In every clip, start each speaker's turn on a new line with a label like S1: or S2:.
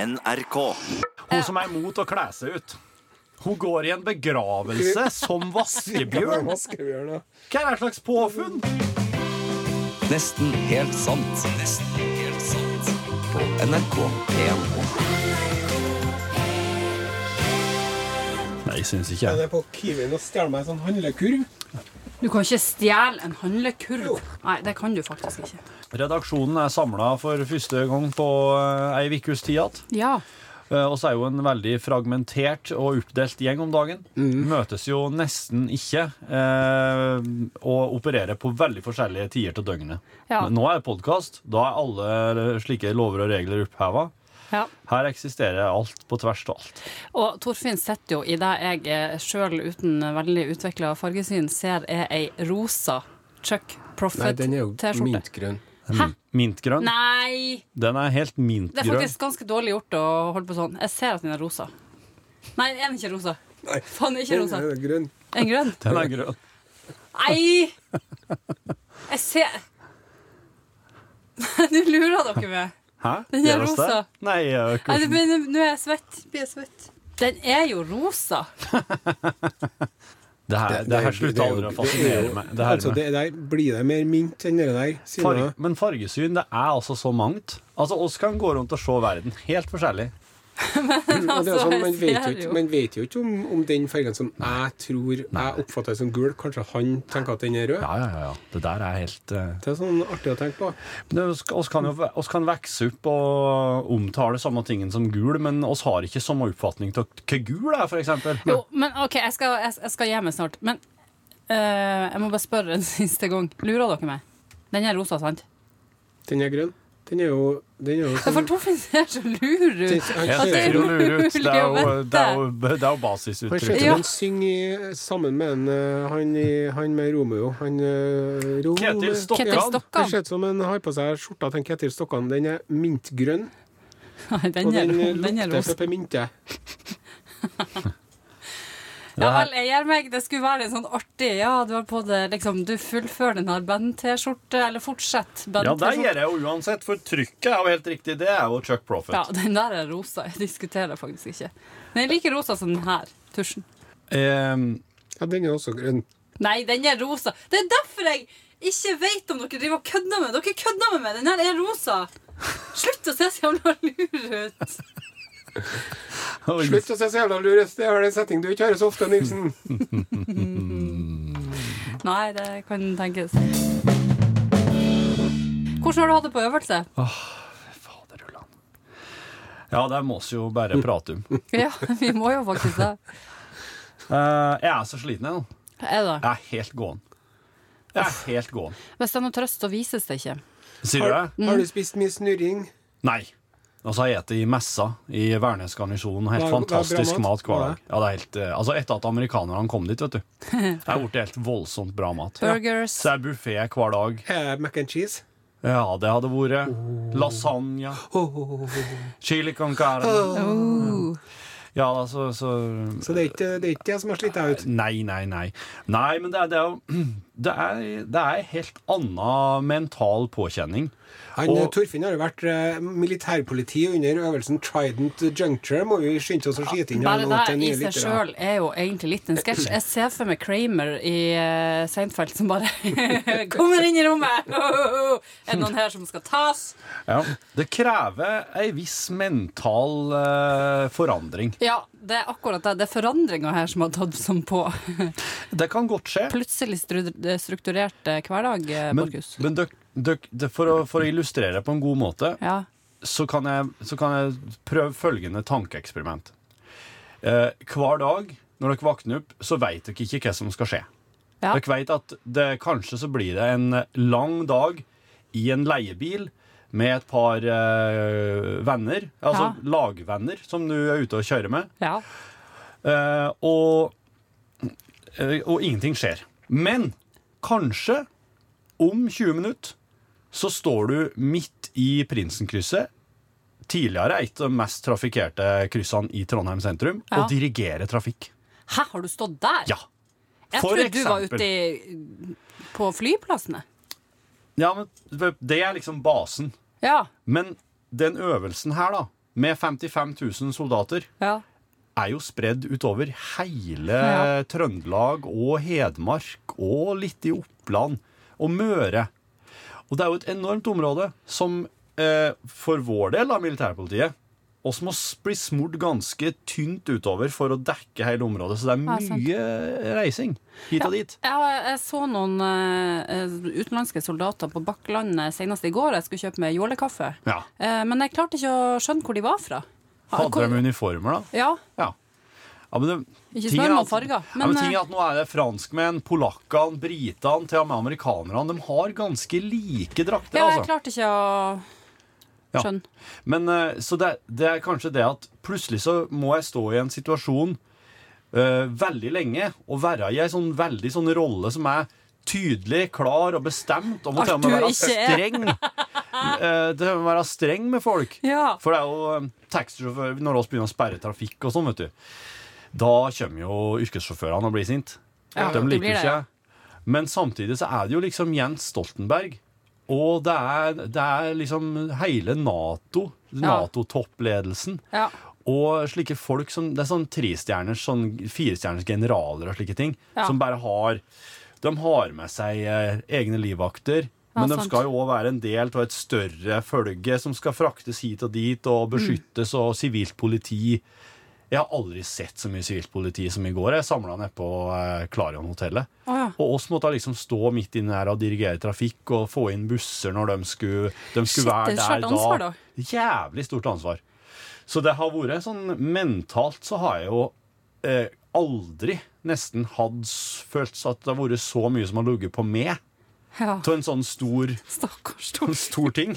S1: NRK.
S2: Hun som er imot å kle seg ut. Hun går i en begravelse som vaskebjørn.
S3: Vaskebjørn, ja.
S2: Hva er det slags påfunn?
S1: Nesten helt sant. Nesten helt sant. På NRK1.
S2: Nei, syns
S3: Ja,
S2: ikke
S3: Det er på Kiwien og stjeler meg en sånn handlekurv.
S4: Du kan ikke stjele en handlekurv. Nei, det kan du faktisk ikke.
S2: Redaksjonen er samla for første gang på eh, ei ukes tid igjen.
S4: Ja.
S2: Eh, Og så er jo en veldig fragmentert og oppdelt gjeng om dagen. Møtes jo nesten ikke eh, og opererer på veldig forskjellige tider til døgnet.
S4: Ja.
S2: Men Nå er det podkast. Da er alle eh, slike lover og regler oppheva.
S4: ja.
S2: Her eksisterer alt på tvers av alt.
S4: Og Torfinn sitter jo i det jeg eh, sjøl uten veldig utvikla fargesyn ser er ei rosa Chuck
S3: Nei, den er jo
S4: Profit-T-skjorte.
S3: mintgrønn.
S4: Hæ?
S2: Mintgrønn.
S4: Nei!
S2: Den er helt
S4: Det er
S2: mintgrønn.
S4: faktisk ganske dårlig gjort å holde på sånn. Jeg ser at den er rosa. Nei, den er ikke rosa.
S3: Nei.
S4: Faen, den er ikke rosa.
S3: Den er grønn.
S4: Er Den grønn?
S2: Den er grønn.
S4: Nei! Jeg ser Nå lurer dere meg.
S2: Hæ?
S4: Den er
S2: Gjør oss det?
S4: rosa.
S2: Nei, jeg gjør ikke
S4: Nei, det begynner- Nå er jeg svett. Blir jeg svett. Den er jo rosa.
S2: Det her, det her slutter aldri å fascinere meg. Det her
S3: altså,
S2: med.
S3: det der blir det mer mint enn det der. sier
S2: Farg,
S3: jeg.
S2: men fargesyn, det er altså så mangt. Altså, oss kan gå rundt og se verden helt forskjellig.
S3: Og det er
S4: altså,
S3: sånn, man,
S4: jeg
S3: vet jo
S4: ser
S3: ikke,
S4: jo.
S3: man vet jo ikke om, om den fargen som jeg tror jeg oppfatter som gul, kanskje han tenker at den er rød.
S2: Ja, ja, ja. ja. Det der er helt eh,
S3: Det er sånn artig å tenke på.
S2: det, oss, oss kan jo ve- oss kan vokse opp og omtale samme tingen som gul, men oss har ikke samme oppfatning av hva gul er, for eksempel.
S4: Jo, men OK, jeg skal, jeg, jeg skal gi meg snart. Men eh, jeg må bare spørre en siste gang. Lurer dere meg? Den er rosa, sant?
S3: Den er grønn. Den er jo, den er jo
S4: For
S3: sånn,
S4: Torfinn ser så lur
S3: den,
S4: ut.
S3: han
S2: Jeg
S3: ser
S4: det er
S2: ser jo
S3: jo
S2: lur ut. Det er jo,
S4: umulig å
S2: det er jo, det er jo
S3: han ser ut
S2: basisuttrykk.
S3: som
S4: Ja.
S3: han synger i- sammen med en, eh, han, i- han med Romeo. Han, eh, Romeo.
S2: Ketil Stokkan.
S4: Ketil Stokkan.
S3: Det ser ut som han har på seg skjorta til Ketil Stokkan. Den er mintgrønn,
S4: Nei,
S3: og
S4: den er,
S3: den eh,
S4: ro- den er
S3: lukter
S4: rosa.
S3: peppermynte.
S4: Ja vel, jeg gir meg. Det skulle være en sånn artig Ja, du har på det liksom Du fullfører den her band-T-skjorte, eller fortsett
S2: Ja, det
S4: band-T-skjorte.
S2: gjør jeg jo uansett, for trykket er jo helt riktig. Det er jo Chuck Profit.
S4: Ja, den der er rosa. Jeg diskuterer faktisk ikke. Den er like rosa som den her tusjen.
S2: Ehm,
S3: Ja, den er også grønn.
S4: Nei, den er rosa. Det er derfor jeg ikke vet om dere driver og kødder med Dere kødder med meg. Den her er rosa. Slutt å se så jævla lur ut.
S3: Slutt å se så jævla lur ut. Det er vel en setting du ikke hører så ofte, Nilsen.
S4: Nei, det kan tenkes. Hvordan har du hatt det på øvelse?
S2: Faderullan. Ja, det må vi jo bare prate om.
S4: Ja, vi må jo faktisk det.
S2: Eh, jeg er så sliten jeg nå.
S4: Er det?
S2: Jeg er helt gåen. Jeg er helt gåen.
S4: Hvis det er noe trøst, så vises det ikke.
S2: Sier du
S3: Har,
S2: det?
S3: har du spist mye snurring?
S2: Nei. Og så har jeg spist i messa i Værnes garnison. Helt
S3: Det er- det er bra
S2: fantastisk
S3: mat.
S2: mat hver dag. Ja, det er helt, eh, altså etter at amerikanerne kom dit, vet du. Det er blitt helt voldsomt bra mat.
S4: Burgers.
S2: Så det er buffé hver dag.
S3: Eh, mac and cheese?
S2: Ja, det hadde vært
S3: Oh.
S2: lasagne. Chili con carne.
S4: Oh.
S2: Ja, altså, så
S3: Så det er ikke det, er ikke det som har slitt deg ut?
S2: Nei, nei, nei. Nei, men det er, det er, jo- det er, det er en helt annen mental påkjenning.
S3: Han,
S2: Og-
S3: eh, Torfinn har jo vært eh, militærpoliti under øvelsen Trident Juncture. Må vi skynde oss å skyte inn her
S4: Bare
S3: nå
S4: det
S3: til
S4: i
S3: nye
S4: seg
S3: lyttere.
S4: sjøl er jo egentlig litt en sketsj. Jeg ser for meg Kramer i eh, Seinfeld som bare kommer inn i rommet! Er det noen her som skal tas?
S2: Ja. Det krever ei viss mental eh, forandring.
S4: Ja, det er akkurat det. Det er forandringa her som har tatt som på.
S2: Det kan godt skje.
S4: Plutselig stru- strukturert eh, hverdag, eh,
S2: Men,
S4: Markus.
S2: men døk, døk, det- for, å, for å illustrere på en god måte,
S4: Ja.
S2: så kan jeg, så kan jeg prøve følgende tankeeksperiment. Eh, hver dag når dere våkner opp, så vet dere ikke hva som skal skje.
S4: ja.
S2: Dere vet at det, kanskje så blir det en lang dag i en leiebil med et par eh, venner, altså
S4: Ja.
S2: lagvenner, som du er ute og kjører med,
S4: ja.
S2: eh, og, eh, og ingenting skjer. Men kanskje om 20 minutter så står du midt i Prinsenkrysset, tidligere et av de mest trafikkerte kryssene i Trondheim sentrum,
S4: Ja.
S2: og dirigerer trafikk.
S4: Hæ, har du stått der?
S2: Ja.
S4: Jeg
S2: for
S4: trodde du var
S2: eksempel.
S4: ute i, på flyplassene.
S2: Ja, men det er liksom basen.
S4: Ja.
S2: Men den øvelsen her, da, med 55 000 soldater
S4: Ja.
S2: er jo spredd utover hele
S4: Ja.
S2: Trøndelag og Hedmark og litt i Oppland og Møre. Og det er jo et enormt område som eh, for vår del av militærpolitiet også må s- bli smurt ganske tynt utover for å dekke hele området. Så det er
S4: Ja, sant.
S2: mye reising hit og dit.
S4: Ja, jeg, jeg så noen eh, eh, utenlandske soldater på Bakklandet senest i går. Jeg skulle kjøpe meg jålekaffe.
S2: Ja.
S4: Eh, men jeg klarte ikke å skjønne hvor de var fra.
S2: Hadde de uniformer, da?
S4: Ja,
S2: Ja. ja men det,
S4: Ikke
S2: ting
S4: spør
S2: er
S4: meg om
S2: at-
S4: farger,
S2: ja, men
S4: men,
S2: ting er
S4: eh,
S2: at nå er det franskmenn, polakkene, britene, til og med amerikanerne. De har ganske like drakter,
S4: ja,
S2: altså.
S4: jeg klarte ikke å
S2: Ja.
S4: skjønne.
S2: Men eh, så det, det er kanskje det at plutselig så må jeg stå i en situasjon eh, veldig lenge og være i en sånn veldig sånn rolle som er tydelig, klar og bestemt og må
S4: At
S2: til og med
S4: du
S2: være
S4: ikke er.
S2: streng. Eh, det må være streng med folk.
S4: Ja.
S2: For det er jo eh, taxisjåfører Når vi begynner å sperre trafikk og sånn, vet du, da kommer jo yrkessjåførene og blir sinte.
S4: Ja,
S2: De
S4: de
S2: liker
S4: blir det,
S2: ikke
S4: ja.
S2: Men samtidig så er det jo liksom Jens Stoltenberg. Og det er, det er liksom hele Nato, Nato-toppledelsen.
S4: Ja.
S2: Og slike folk som Det er sånn trestjerners, sånn firestjerners generaler og slike ting.
S4: Ja.
S2: Som bare har De har med seg eh, egne livvakter.
S4: Ja,
S2: Men de
S4: sant.
S2: skal jo òg være en del av et større følge som skal fraktes hit og dit og
S4: Mm.
S2: beskyttes, og sivilt politi. Jeg har aldri sett så mye sivilt politi som i går. Jeg samla nede på eh, Klarion-hotellet.
S4: Å, ja.
S2: Og oss måtte liksom stå midt inne her og dirigere trafikk og få inn busser når de skulle, de skulle
S4: Shit,
S2: være
S4: det er
S2: der
S4: svært ansvar, da.
S2: Jævlig stort ansvar. Så det har vært sånn Mentalt så har jeg jo eh, aldri nesten hatt s- følt at det har vært så mye som har ligget på meg
S4: Ja.
S2: til en sånn stor,
S4: Stakkars
S2: en
S4: Tor.
S2: stor ting.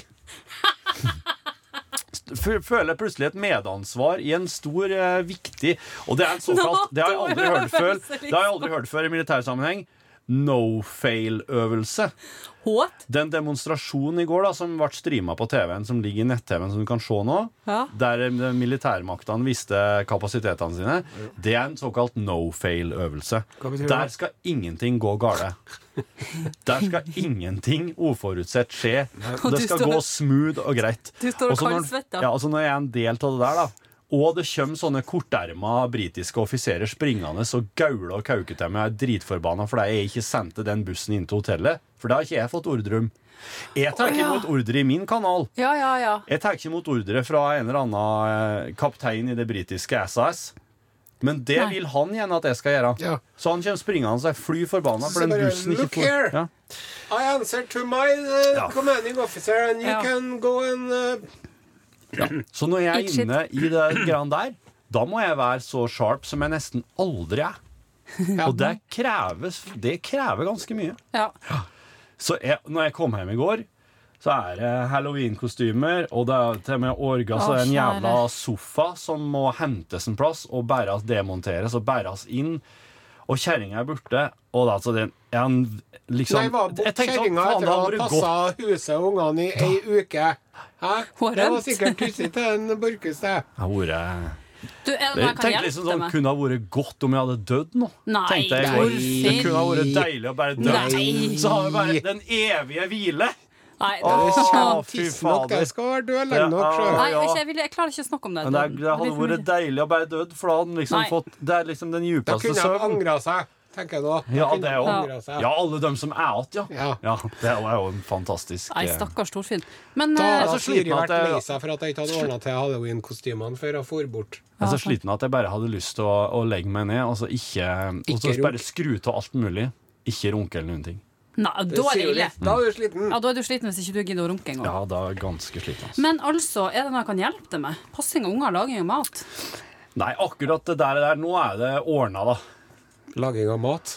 S2: St- fø- Føler jeg plutselig et medansvar i en stor, eh, viktig Og det er en såkalt Det har jeg aldri hørt før Det har jeg aldri hørt før i militærsammenheng. No fail-øvelse.
S4: What?
S2: Den demonstrasjonen i går da, som ble streama på TV-en, som ligger i nett-TV-en som du kan se nå,
S4: Ja.
S2: der eh, militærmaktene viste kapasitetene sine, det er en såkalt no fail-øvelse.
S3: Hva betyr det?
S2: Der skal ingenting gå gale. Der skal ingenting uforutsett skje.
S4: Og
S2: Det
S4: du
S2: skal
S4: står-
S2: gå smooth og greit.
S4: Du står og
S2: Også når-
S4: kaldsvetter.
S2: Ja, altså når jeg er en del av det der, da. Og det kommer sånne korterma britiske offiserer springende og gauler og kauker til meg. Jeg er dritforbanna fordi jeg ikke sendte den bussen inn til hotellet. For da har ikke jeg fått ordre om. Jeg tar ikke
S4: Å, ja.
S2: imot ordre i min kanal.
S4: Ja, ja, ja.
S2: Jeg tar ikke imot ordre fra en eller annen eh, kaptein i det britiske SAS. Men det
S4: Nei.
S2: vil han gjerne at jeg skal gjøre.
S3: Ja.
S2: Så han kommer springende og er fly forbanna
S3: Så
S2: for den
S3: bare,
S2: bussen ikke
S3: "Look here."
S2: får ja.
S3: I answer to my uh,
S2: Ja.
S3: commanding officer, and you
S4: Ja.
S3: can go and uh,
S2: Så når jeg
S4: Eat
S2: er
S4: shit.
S2: inne i det greiene der, da må jeg være så sharp som jeg nesten aldri er. Og det, kreves, det krever ganske mye.
S4: ja.
S2: Så jeg, når jeg kom hjem i går, så er det halloween-kostymer, og det er til og med orga, så
S4: Å,
S2: det er en
S4: kjære.
S2: jævla sofa som må hentes en plass og bæres, demonteres og bæres inn. Og kjerringa er borte, og da altså den en, liksom,
S3: Nei, var bort
S2: jeg tenkte sånn,
S3: kjerringa
S2: faen,
S3: etter
S2: det
S3: å
S2: hadde
S3: ha
S2: vært
S3: passa
S2: godt.
S3: huset og ungene i ei uke. Hæ?
S4: Hun har
S3: Det var
S4: rømt.
S3: sikkert tussig til en Borchhus, det.
S2: Det hadde vært-
S4: Du, er
S2: Jeg
S4: det noe jeg kan
S2: tenkte
S4: hjelpe
S2: liksom
S4: deg
S2: sånn,
S4: med?
S2: kunne ha vært godt om jeg hadde dødd nå.
S4: Nei,
S2: tenkte jeg i går.
S4: Torfinn.
S2: Det kunne ha vært deilig å bare dø.
S4: Nei.
S2: Så har vi bare den evige hvile.
S4: Nei, det,
S2: Åh,
S4: Åh.
S2: fy
S3: Tidsnok, det
S2: fader.
S3: skal være død lenge nok.
S2: Ja.
S3: sjø.
S4: Nei, ikke, jeg, vil, jeg klarer ikke å snakke om det.
S2: Men det, er- det
S4: blir
S2: hadde
S4: for
S2: vært
S4: mye.
S2: deilig å bare dødd, for da hadde han liksom
S4: Nei.
S2: fått Det er liksom den
S3: Da
S2: djupeste
S3: kunne de
S2: søvn.
S3: angra seg, tenker jeg nå. Da
S2: Ja, det
S3: kunne de
S2: er jo-
S3: angret seg.
S2: Ja, alle dem som er igjen, ja.
S3: Ja.
S2: ja. Det er jo en fantastisk
S4: Nei,
S2: eh,
S4: stakkars Torfinn. Men
S3: Da
S4: eh,
S2: så
S3: hadde
S2: sliten
S3: Siri
S2: at
S3: vært
S2: jeg-
S3: lei seg for at jeg ikke hadde ordna til halloween-kostymene før jeg for bort.
S2: Jeg er så
S4: Ja, sant.
S2: sliten at jeg bare hadde lyst til å, å legge meg ned og så ikke, og så
S3: Ikke
S2: bare
S3: runk.
S2: skru av alt mulig. Ikke runke eller noen ting.
S4: nei, da er det
S3: sier jo
S4: ille.
S3: litt. Da er du sliten.
S4: Ja, da er du sliten hvis ikke du gidder å runke engang.
S2: Ja, da er jeg ganske sliten. Altså.
S4: Men altså, er det noe jeg kan hjelpe deg med? Passing av unger, laging av mat.
S2: Nei, akkurat det der, der nå er det ordna, da.
S3: Laging av mat.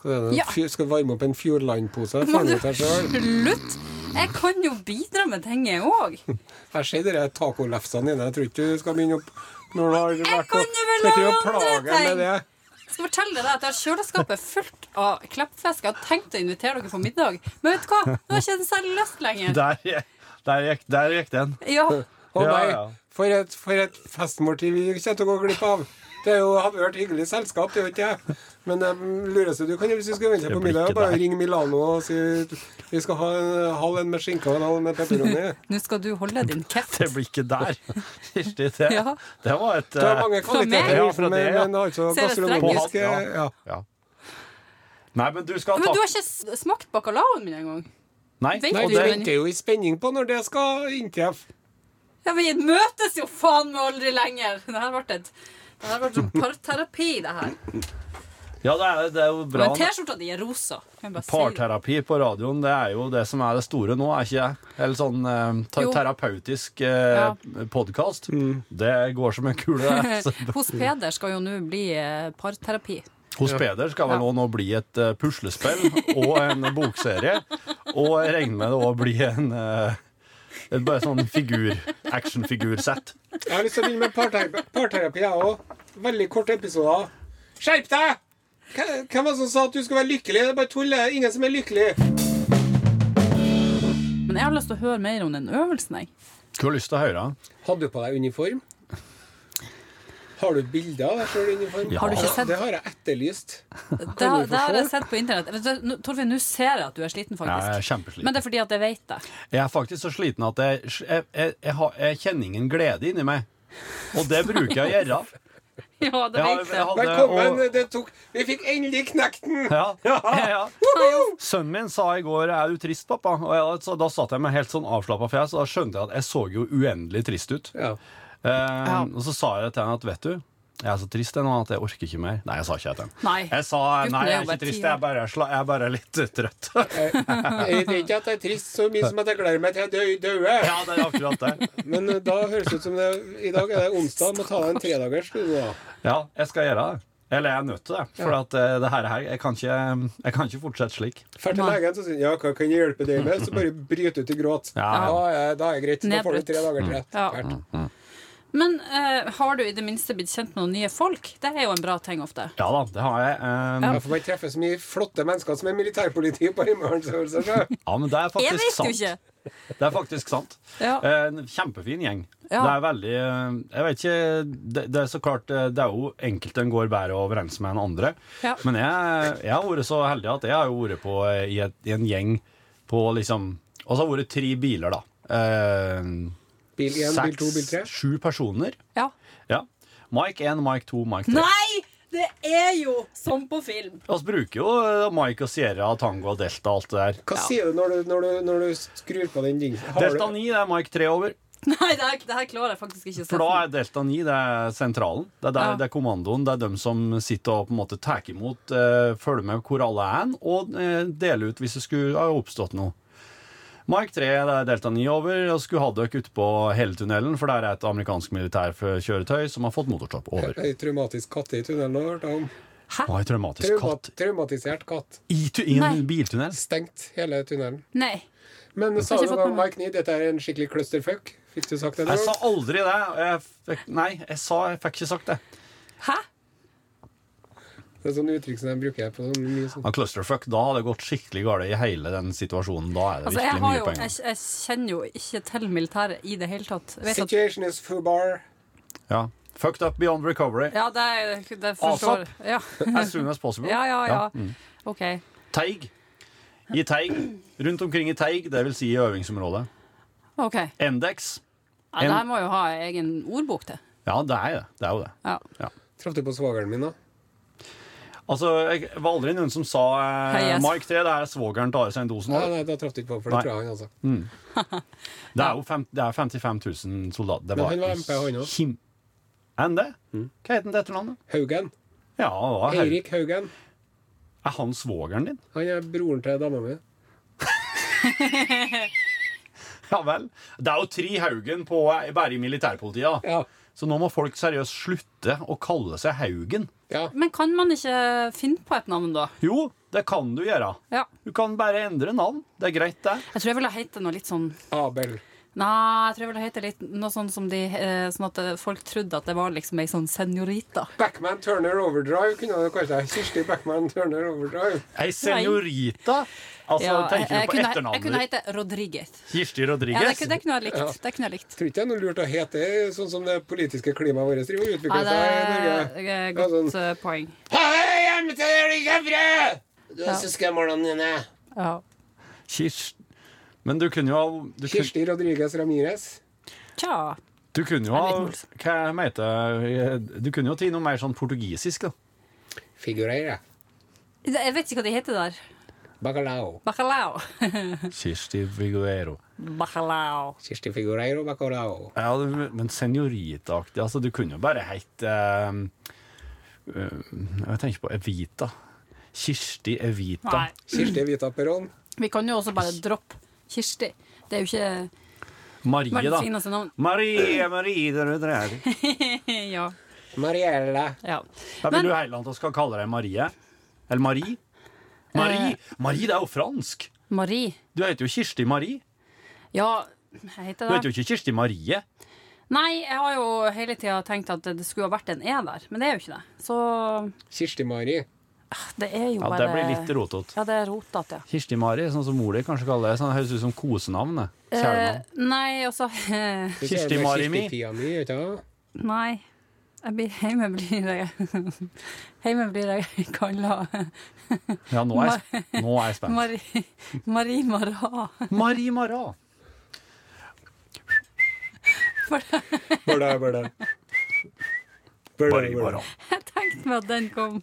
S3: Hva er det?
S4: Ja.
S3: Fy- Skal varme opp en Fjordland-pose? Får den ut her sjøl?
S4: Slutt! Jeg kan jo bidra med ting, jeg òg.
S3: Jeg ser de der tacolefsene dine. Jeg tror ikke du skal begynne opp når du har vært på
S4: kan jo vel
S3: Skal ikke
S4: lage
S3: du plage
S4: andre
S3: med
S4: ting.
S3: det?
S4: Skal fortelle deg at jeg har kjøleskapet fullt av kleppfisk. Jeg har tenkt å invitere dere på middag, men vet du hva? Nå har jeg ikke særlig lyst lenger.
S2: Der, der, gikk, der gikk den.
S4: Ja,
S3: Å
S2: Ja,
S3: nei,
S2: ja.
S3: for et, for et festmåltid vi kommer til å gå glipp av. Det er jo, hadde vært hyggelig selskap, det er jo ikke jeg. Men det lureste du kan gjøre hvis du skal vente
S2: Det
S3: på
S2: blir
S3: middag,
S2: ikke
S3: er bare
S2: det.
S3: ringe Milano og si vi skal ha en halv en med skinke og en halv med pepperoni.
S4: Nå skal du holde din kjeft.
S2: Det blir ikke der. Kirsti, det,
S4: Ja.
S2: det var et
S3: Det er
S2: eh,
S3: mange
S4: Fra meg?
S3: kvaliteter,
S2: Ja,
S3: i
S2: fra
S3: den,
S2: det,
S3: men,
S2: ja.
S3: men altså
S4: Ser det streng
S3: gastronomisk
S2: ut?
S3: ja. ja.
S2: ja. Nei, men du skal
S4: Men
S2: ta
S4: du har ikke s- smakt bacalaoen min engang.
S2: Nei,
S4: Vent
S3: Nei,
S2: og
S3: du
S2: det,
S4: men-
S3: venter jo i spenning på når det skal inntreffe.
S4: Ja, vi møtes jo faen meg aldri lenger! Det her ble et det her ble sånn parterapi, det her.
S2: ja, det, er, det er jo bra.
S4: Men T-skjorta di er rosa. Kan jeg bare si det?
S2: Parterapi på radioen, det er jo det som er det store nå, er ikke det? Eller sånn eh, te-
S4: Jo.
S2: terapeutisk eh, podkast.
S3: Mm.
S2: Det går som en kule. det. Så,
S4: Hos Peder skal jo nå bli eh, parterapi.
S2: hos Peder skal vel
S4: Ja.
S2: også nå bli et eh, puslespill og en bokserie. Og jeg regner med det òg blir en eh, et bare sånn figur, actionfigursett.
S3: Jeg har lyst til å begynne med parterapi, parterapi jeg òg. Veldig korte episoder. Skjerp deg! Hvem hvem var det som sa at du skulle være lykkelig? Det er bare tull. det er Ingen som er lykkelig.
S4: Men jeg har lyst til å høre mer om den øvelsen, jeg.
S2: Hva har du lyst til å høre?
S3: Hadde du på deg uniform? Har du bilder av deg sjøl i uniform?
S2: Har du
S4: ikke sett?
S3: Det har jeg etterlyst.
S4: Det, det har jeg sett på internett. Vet du, nå- Torfinn, nå ser jeg at du er sliten,
S2: Jeg er
S4: faktisk.
S2: kjempesliten.
S4: Men det er fordi at jeg vet det.
S2: Jeg er faktisk så sliten at jeg, jeg, jeg, jeg, har, jeg kjenner ingen glede inni meg. Og det bruker jeg å gjøre.
S4: Ja, det
S2: Jeg har-
S4: vet
S2: jeg
S4: jeg.
S2: har-
S3: Velkommen.
S2: og-
S3: Det tok Vi fikk endelig knekt den!
S2: Ja, ja, ja. Sønnen min sa i går 'er du trist, pappa?' Og jeg, så, da satt jeg med helt sånn avslappa fjes, og da skjønte jeg at jeg så jo uendelig trist ut.
S3: Ja.
S2: Eh, Og så sa jeg til henne at 'vet du, jeg er så trist jeg nå at jeg orker ikke mer'. Nei, jeg sa ikke det til henne.
S4: Nei.
S2: Jeg sa
S4: Gutten
S2: 'nei, jeg
S4: er
S2: er
S4: jo bare
S2: ikke trist,
S4: ti år.»
S2: jeg er bare, sla, jeg er bare litt trøtt'.
S3: Jeg jeg vet ikke at jeg er trist så mye som at jeg gleder meg til jeg dø- døde.
S2: ja, det er akkurat det.
S3: Men eh, da høres det ut som det I dag er det onsdag. Må ta deg en tredagers. du, da.
S2: Ja, jeg skal gjøre det. Eller jeg er nødt til det. For at, eh, det her, her jeg, kan ikke, jeg kan ikke fortsette slik.
S3: Fær til
S4: Nei.
S3: legen så sier han, ja, hva kan jeg hjelpe deg med? Så bare bryter ut i gråt.
S2: Ja.
S3: Da, er, da er det greit. Da får
S4: Nedbrutt.
S3: du tre dager til.
S4: Ja.
S3: Fælt.
S4: Men eh, har du i det minste blitt kjent med noen nye folk? Det er jo en bra ting ofte.
S2: Ja da, det har jeg. Eh,
S3: Jeg får bare treffe så mye flotte mennesker som er militærpoliti på Heimevernsøvelser. så.
S2: Ja, men det er
S4: Jeg
S2: faktisk
S4: vet jo
S2: sant.
S4: ikke!
S2: Det er faktisk sant.
S4: Ja.
S2: Eh, En kjempefin gjeng.
S4: Ja.
S2: Det er veldig eh, Jeg vet ikke Det, det er så klart eh, Det er jo enkelte en går bedre overens med enn andre.
S4: Ja.
S2: Men jeg, jeg har vært så heldig at jeg har jo vært på eh, i, et, i en gjeng på liksom Og så har det vært tre biler, da. Eh,
S3: Bil 1, bil 2, bil 3.
S2: sju personer.
S4: Ja.
S2: Ja. Mike 1, Mike 2, Mike 3.
S4: Nei! Det er jo som på film.
S2: Vi bruker jo eh, Mike og Sierra, Tango og Delta og alt det der.
S3: Hva sier du når du, når du, når du skrur på den ding? Har
S2: Delta
S3: du-
S2: 9 det er Mike 3 over.
S4: Nei, det her, det her klarer jeg faktisk ikke å se.
S2: For da er Delta 9 det er sentralen. Det er, der,
S4: Ja.
S2: det er kommandoen. Det er dem som sitter og på en måte tar imot, eh, følger med hvor alle er, og eh, deler ut hvis det skulle ha oppstått noe. Mark 3 det er Delta 9 over, og skulle ha dere ute på hele tunnelen, for der er et amerikansk militærkjøretøy som har fått motorstopp. Over.
S3: Ei traumatisk katt i tunnelen har jeg hørt om.
S2: Å, en traumatisk
S3: Traumat,
S2: katt.
S3: traumatisert katt.
S2: I, tu I
S4: Nei.
S2: en biltunnel?
S3: Stengt hele tunnelen.
S4: Nei.
S3: Men sa
S4: ikke
S3: du
S4: fått
S3: da,
S4: med meg.
S3: Mike 9, dette er en skikkelig clusterfuck? Fikk du sagt det?
S2: Jeg sa
S3: nå?
S2: aldri det. Jeg fikk, nei, jeg sa jeg fikk ikke sagt det.
S4: Hæ?
S3: Det er sånn uttrykk som jeg bruker på sånn mye sånn.
S2: Men clusterfuck, da har det gått skikkelig galt i hele den situasjonen. Da er det
S4: Altså, jeg,
S2: virkelig
S4: har
S2: mye
S4: jo,
S2: penger.
S4: jeg, jeg kjenner jo ikke til militæret i det hele tatt. Jeg vet at,
S3: Situation is fubar.
S2: Ja. Fucked up beyond recovery.
S4: ja, det, er- det forstår
S2: ASAP.
S4: ja.
S2: As soon as possible.
S4: ja, ja, ja.
S2: mm.
S4: OK.
S2: Teig. I teig. Rundt omkring i teig, det vil si i øvingsområdet.
S4: ok ja,
S2: Endex.
S4: Det
S2: En-
S4: her må jo ha egen ordbok til.
S2: Ja, det er det. Det er jo det.
S4: Ja.
S3: Traff du på svogeren min, da?
S2: Altså, jeg det var aldri noen som sa eh,
S4: Hei, jeg-
S2: Mark 3, det er svogeren til Are Sein Dosen.
S3: Nei,
S2: også.
S3: nei, da traff du ikke på, for det
S2: Nei.
S3: tror jeg han, altså.
S2: Det er jo fem, det er 55 000 soldater. Det
S3: Men han var MP, han også.
S2: Kim... Er han det? Hva heter han til etternavnet?
S3: Haugen.
S2: Ja, hva er,
S3: Eirik Ah, Haugen.
S2: er han svogeren din?
S3: Han er broren til dama mi.
S2: Ja vel. Det er jo Tri Haugen på, bare i militærpolitiet. da.
S3: Ja.
S2: Så nå må folk seriøst slutte å kalle seg Haugen.
S3: ja.
S4: Men kan man ikke finne på et navn, da?
S2: Jo, det kan du gjøre.
S4: Ja.
S2: Du kan bare endre navn. Det er greit, det.
S4: Jeg tror jeg ville hete noe litt sånn
S3: Abel.
S4: Nei, jeg tror jeg ville hete litt noe sånn som de eh, Sånn at eh, folk trodde at det var liksom ei sånn senorita.
S3: Backman Turner Overdrive kunne du kalt deg. Kirsti Backman Turner Overdrive.
S2: Ei senorita? Altså,
S4: Ja, jeg,
S2: tenker
S4: jeg,
S2: du på
S4: kunne, jeg kunne
S2: etternavnet?
S4: hete Rodriguez.
S2: Kirsti
S4: Ja, det,
S2: Rodriguez?
S4: kunne- det kunne jeg likt. Det kunne jeg likt.
S3: Tror ikke det er noe lurt å hete det, sånn som det politiske klimaet vårt driver og
S4: Ja,
S3: utvikler
S4: det
S3: seg i Norge.
S4: er et godt eh, poeng.
S3: Hei, hjemme til dere i Gavre! Du er så skummel, Nine.
S4: Ja.
S2: Kirst... Men du kunne jo ha du kunne,
S3: Kirsti Rodriguez Ramirez.
S4: Tja.
S2: du kunne jo ha
S4: Jeg vet
S2: Hva heter det Du kunne jo tatt noe mer sånn portugisisk, da.
S3: Figureira.
S4: Jeg vet ikke hva de heter der.
S3: Bacalao.
S4: Bacalao.
S2: Kirsti Viguero.
S4: Bacalao.
S3: Kirsti Figureiro Bacalao.
S2: Ja, du, men senoritaaktig Altså, du kunne jo bare hett eh, eh, Jeg tenker på Evita. Kirsti Evita.
S4: Nei.
S3: Kirsti Vita Perón.
S4: Vi kan jo også bare droppe Kirsti. Det er jo ikke
S2: Marie,
S4: verdens
S2: da.
S4: fineste navn.
S2: Marie, Marie, der ute der.
S4: ja.
S3: Mariella.
S4: ja.
S2: Da
S4: Men-
S2: vil du heller at vi skal kalle deg Marie. Eller Marie. Marie,
S4: Eh.
S2: Marie det er jo fransk.
S4: Marie.
S2: Du heter jo Kirsti Marie.
S4: Ja, jeg
S2: Du
S4: heter det.
S2: heter jo ikke Kirsti Marie.
S4: Nei, jeg har jo hele tida tenkt at det skulle ha vært en E der, men det er jo ikke det. Så
S3: Kirsti Mari.
S4: det er jo
S2: Ja,
S4: bare
S2: Det blir litt rotete.
S4: Ja, det er rotete, ja.
S2: Kirsti Mari, sånn som mor di kanskje kaller det. Sånn, høres ut som kosenavnet. Kjælenavn.
S4: Eh, nei, altså eh,
S3: Du ser
S2: Kirsti
S3: det,
S2: Mari mi.
S3: Kirsti Pia mi, vet du.
S4: Nei. Jeg blir, hjemme blir jeg Hjemme blir jeg kalla
S2: Ja, nå er jeg, sp- nå er jeg spent.
S4: Marie, Marie Mara.
S2: Marie Mara.
S3: Burde, burde. Burde,
S2: Marie Mara.
S4: Jeg tenkte meg at den kom.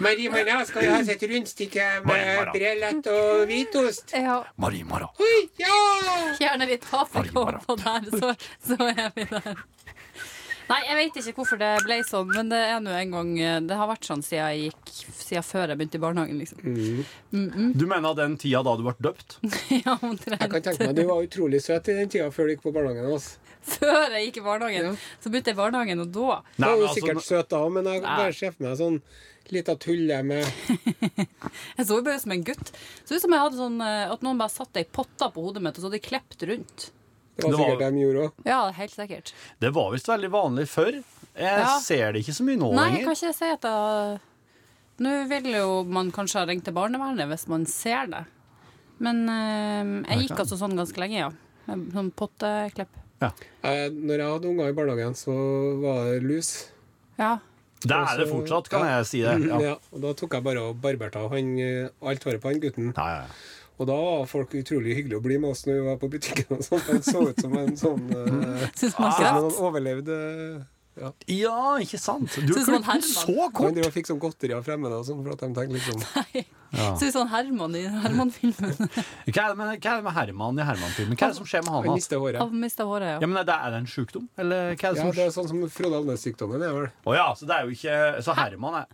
S3: Marie Mara, skal du ha seg et rundstykke
S2: Marie Mara.
S3: med brelett og hvitost?
S4: Ja,
S2: Marie Mara.
S3: Oi, ja!
S4: gjerne litt
S2: Marie Mara.
S4: på der, så, så er vi der. Nei, jeg vet ikke hvorfor det ble sånn, men det er nå en gang eh, Det har vært sånn siden jeg gikk Siden før jeg begynte i barnehagen, liksom.
S3: Mm.
S2: Du mener den tida da du ble døpt?
S4: Ja,
S3: Jeg kan
S4: omtrent.
S3: tenke meg Du var utrolig søt i den tida før du gikk på barnehagen. Altså.
S4: Før jeg gikk i barnehagen.
S3: Ja.
S4: Så begynte jeg i barnehagen, og da
S2: Nei,
S3: Du
S2: men
S3: var jo
S2: altså,
S3: sikkert søt da, men jeg kan bare ser for meg sånn lita tulle med
S4: Jeg så jo bare ut som en gutt. Så ut som jeg hadde sånn eh, at noen bare satte ei potte på hodet mitt, og så hadde de klept rundt.
S3: Det var
S2: Det var-
S3: sikkert det de gjorde òg.
S4: Ja, helt sikkert.
S2: det var visst veldig vanlig før. Jeg
S4: Ja.
S2: ser det ikke så mye nå
S4: Nei, jeg
S2: lenger.
S4: kan ikke si at jeg Nå vil jo man kanskje ha ringt til barnevernet hvis man ser det. Men eh, jeg gikk altså sånn ganske lenge, ja. Med Sånn potteklepp.
S2: Ja.
S3: Eh, Når jeg hadde unger i barnehagen, så var det lus.
S4: Ja.
S2: Det er det
S3: så-
S2: fortsatt, kan
S3: ja.
S2: jeg si det.
S3: Ja.
S4: Mm,
S2: Ja.
S3: og Da tok jeg bare og barberte av han, eh, alt håret på han gutten.
S2: Nei, ja.
S3: Og da var folk utrolig hyggelige å bli med oss når vi var på butikken. og sånt. Han så ut som en sånn eh,
S4: Syns
S2: Ah.
S4: man
S3: som
S4: ikke
S3: han
S4: det?
S3: overlevde eh, ja.
S2: ja, ikke sant? Du
S4: Synes
S2: klippte
S4: man
S2: den så
S4: Herman.
S3: Han
S2: kort!
S3: drev og fikk sånn godteri av fremmede og sånn, for at de tenkte liksom
S2: Ja.
S4: Syns han Herman i Herman-filmen.
S2: Hva er det med, hva er det med Herman i Herman-filmen? Hva er det som skjer med han?
S3: Han
S2: altså?
S3: mister håret.
S4: Han mista håret,
S2: Ja,
S4: ja.
S2: men er det, er det en sjukdom? Eller hva er det
S3: Ja,
S2: som
S3: det er sånn som Frode Alnes-sykdommen er vel.
S2: Å ja, så det er jo ikke Så Herman er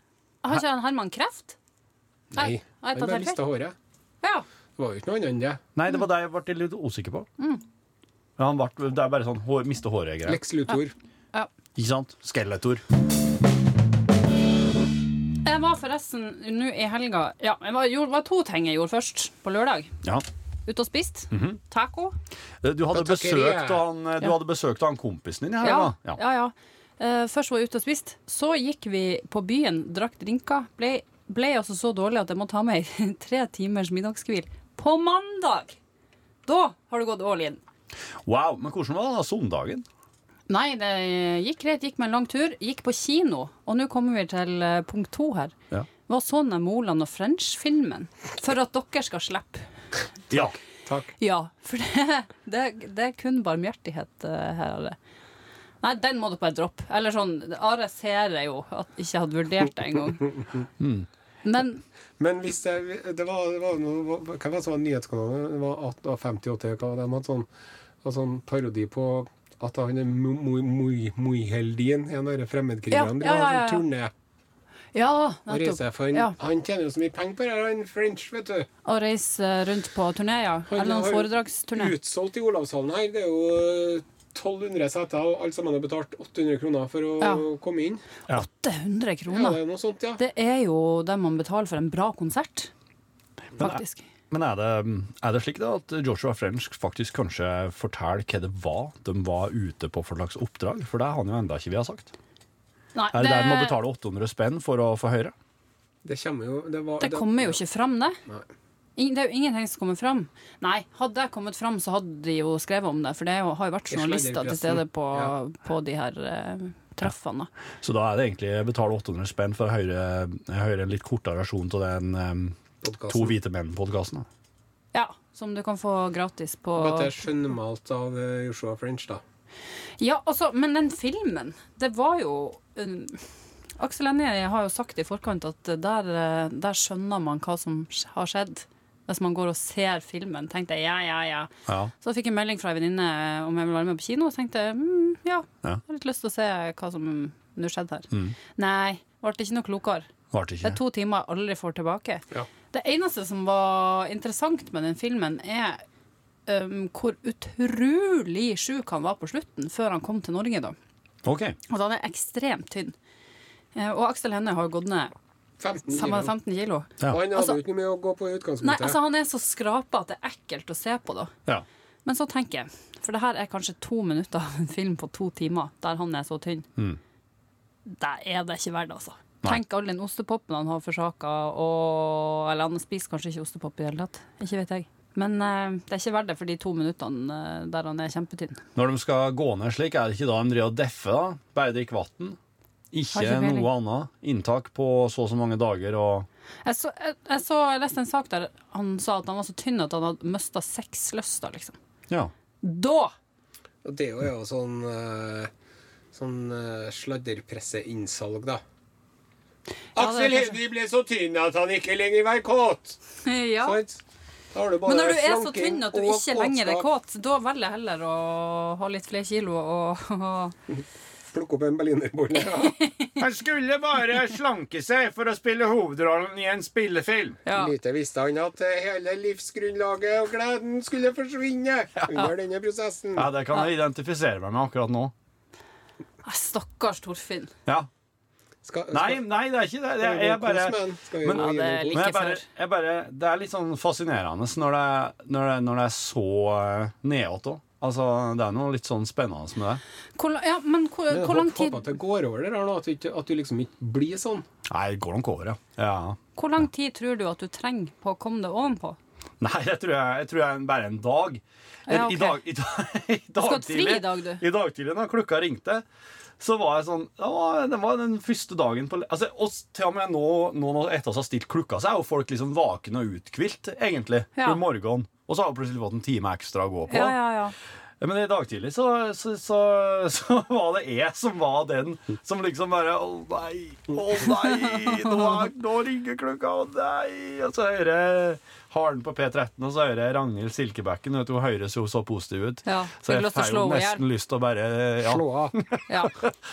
S4: Har ikke han Herman kreft? Nei, har jeg
S3: han
S4: tatt
S3: bare
S4: helt
S3: mista håret.
S4: Ja.
S3: Det var jo ikke noe annet enn det.
S2: Nei, det var det jeg ble litt usikker på.
S4: Mm.
S2: Ja, Han ble, det er bare sånn hår, miste håret-greier.
S3: Lex Luthor.
S4: ja.
S2: Ikke sant? Skeletor.
S4: Jeg var forresten nå i helga Ja, det var, gjorde- var to ting jeg gjorde først på lørdag.
S2: Ja. Eh,
S4: Ute og spist. Taco.
S2: Du hadde
S3: På takkeriet.
S2: besøkt han, eh, du hadde besøkt han kompisen din i
S4: Ja,
S2: helga?
S4: ja. ja, Eh, først var jeg ute og spiste. Så gikk vi på byen, drakk drinker. Ble, ble altså så dårlig at jeg må ta meg tre timers middagshvil på mandag. Da har du gått all in.
S2: Wow, men hvordan var det da søndagen?
S4: Nei, det gikk greit. Gikk med en lang tur. Gikk på kino. Og nå kommer vi til eh, punkt to her.
S2: Ja.
S4: Var sånn er Moland og French-filmen. For at dere skal slippe.
S2: Ja.
S3: Takk.
S4: Ja, for det, det, det er kun barmhjertighet eh, her. Are. Nei, den må du bare droppe. Eller sånn, Are ser jeg jo at jeg ikke hadde vurdert det engang.
S2: Mm.
S4: Men
S3: Men hvis det, det var, det var noe, Hva var det som var nyhetskanalen? Det var 18 av 58, hva var det? De hadde sånn, hadde sånn parodi på at han er Muiheldin, en av de
S4: Ja,
S3: fremmedkrigerne,
S4: ja, ja, ja, ja.
S3: driver og sånn turné
S4: ja,
S3: og reiser.
S4: nettopp.
S3: For han,
S4: Ja,
S3: han tjener jo så mye penger på det, han French, vet du.
S4: å reise rundt på turné, ja.
S3: Han
S4: Eller
S3: har
S4: noen
S3: jo
S4: foredragsturné.
S3: Utsolgt i Olavshallen her. Det er jo eh, 1200 seter, og alle sammen har betalt 800 kroner for å
S4: Ja.
S3: komme inn.
S4: 800
S3: Ja, det
S4: kroner.
S3: er noe sånt, ja.
S4: Det er jo det man betaler for en bra konsert, faktisk.
S2: Men er det, er det slik da at Joshua French faktisk kanskje forteller hva det var de var ute på for slags oppdrag? For det har han jo enda ikke vi har sagt.
S4: Nei,
S2: Er det der de må betale 800 spenn for å få høre?
S3: Det kommer jo Det, var,
S4: det kommer jo ikke fram, det.
S3: Nei.
S4: Ing- Det er jo ingenting som kommer fram. Nei, hadde det kommet fram, så hadde de jo skrevet om det. For det er jo, har jo vært
S3: Jeg slenger
S4: journalister til
S3: pressen.
S4: stede på,
S3: Ja.
S4: på de her eh, treffene. da.
S2: Så da er det egentlig betale 800 spenn for å høre, høre en litt kortere versjon av den em,
S3: podcasten.
S2: To hvite menn-podkasten.
S4: Ja, som du kan få gratis på
S3: At det er skjønnmalt av eh, Joshua French, da.
S4: Ja, altså, men den filmen, det var jo um, Aksel Hennie har jo sagt i forkant at der, eh, der skjønner man hva som sk- har skjedd. Hvis man går og ser filmen, tenkte jeg ja, ja, ja.
S2: Ja.
S4: Så fikk jeg melding fra ei venninne eh, om jeg ville være med på kino, og tenkte jeg, mm, ja,
S2: Ja.
S4: jeg har litt lyst til å se hva som nå skjedde her.
S2: Mm.
S4: Nei, ble ikke noe klokere.
S2: Varte
S4: Det
S2: ikke.
S4: er to timer jeg aldri får tilbake.
S3: Ja.
S4: Det eneste som var interessant med den filmen, er um, hvor utrolig sjuk han var på slutten, før han kom til Norge, da.
S2: OK.
S4: Altså, han er ekstremt tynn. Eh, Og Aksel Hennie har gått ned
S3: 15
S4: fem-
S3: kilo.
S4: 15 kilo.
S2: Ja.
S3: Og han hadde
S4: Altså-
S3: jo ikke noe med å gå på i utgangspunktet.
S4: Nei, altså Han er så skrapa at det er ekkelt å se på, da.
S2: Ja.
S4: Men så tenker jeg, for det her er kanskje to minutter av en film på to timer, der han er så tynn.
S2: Mm.
S4: Der er det ikke verdt, altså.
S2: Nei.
S4: Tenk all den ostepopen han har forsaka, og Eller han spiser kanskje ikke ostepop i det hele tatt. Ikke vet jeg. Men eh, det er ikke verdt det for de to minuttene eh, der han er kjempetynn.
S2: Når de skal gå ned slik, er det ikke da de driver og deffer? da? Bare drikke vann? Ikke,
S4: Har ikke peiling.
S2: noe annet? Inntak på så og så mange dager og
S4: Jeg, så, jeg, jeg, så, jeg leste en sak der han sa at han var så tynn at han hadde mista sexlysta, liksom.
S2: Ja.
S4: Da!
S3: Og det er jo sånn, eh, sånn eh, sladderpresseinnsalg, da.
S4: Ja, det er
S3: Aksel
S4: kanskje-
S3: Hennie ble så tynn at han ikke lenger var kåt!
S4: Ja.
S3: Sant? Da har du bare
S4: Men når du er så
S3: slanking
S4: tynn at du
S3: og
S4: ikke lenger er
S3: kåtskap.
S4: kåt, da velger jeg heller å ha litt flere kilo og, og
S3: Plukke opp en berlinerbolle. Ja.
S2: Han skulle bare slanke seg for å spille hovedrollen i en spillefilm.
S4: ja.
S3: Lite visste han at eh, hele livsgrunnlaget og gleden skulle forsvinne under denne prosessen.
S2: Ja, Det kan jeg identifisere meg med akkurat nå.
S4: Nei, Stakkars Torfinn.
S2: Ja.
S3: Skal-
S2: Nei,
S3: skal-
S2: nei, det er ikke det. det
S3: skal
S2: er,
S3: vi
S2: jeg
S3: gå
S2: bare
S3: kos med den? Skal vi
S2: Men-
S3: gå
S4: Ja, det er
S3: inn i
S4: litt-
S2: Men jeg
S3: kos?
S4: Ikke
S2: bare,
S4: før.
S2: jeg bare, det er litt sånn fascinerende når det, når det, når det er så eh, nedåt òg. Altså, det er noe litt sånn spennende med det.
S4: Hvor, la- ja, men hvor,
S3: Men jeg
S4: hvor, lang
S3: håper-
S4: tid,
S3: Håper at det går over det der nå, at du, ikke, at du liksom ikke blir sånn.
S2: Nei, det går nok over, ja. ja.
S4: hvor lang tid tror du at du trenger på å komme deg ovenpå?
S2: Nei, jeg tror jeg, jeg tror jeg er bare en dag.
S4: Ja, ok.
S2: I dag, i dag, i dag
S4: ha et fri
S2: tidlig-
S4: i dag, du.
S2: I dag tidlig, da klokka ringte, så var jeg sånn Det var, det var den første dagen på le- altså, Og s- til og med nå, nå når etter oss har stilt klokka, så er jo folk liksom vakne og uthvilt, egentlig,
S4: Ja.
S2: i morgen. Og så har vi plutselig fått en time ekstra å gå på.
S4: Ja, ja, ja.
S2: Ja, Men i dag tidlig så, så, så, så var det jeg som var den som liksom bare Å nei, å nei, nå, er, nå ringer klokka, å nei. Og så hører jeg Haren på P13, og så hører jeg Ragnhild Silkebekken. Vet du, hun høres jo så positiv ut.
S4: Ja,
S2: så
S4: fikk
S2: jeg
S4: lyst til å
S2: får jo
S4: slå henne ihjel.
S2: nesten lyst til å bare ja.
S3: Slå av.
S4: ja,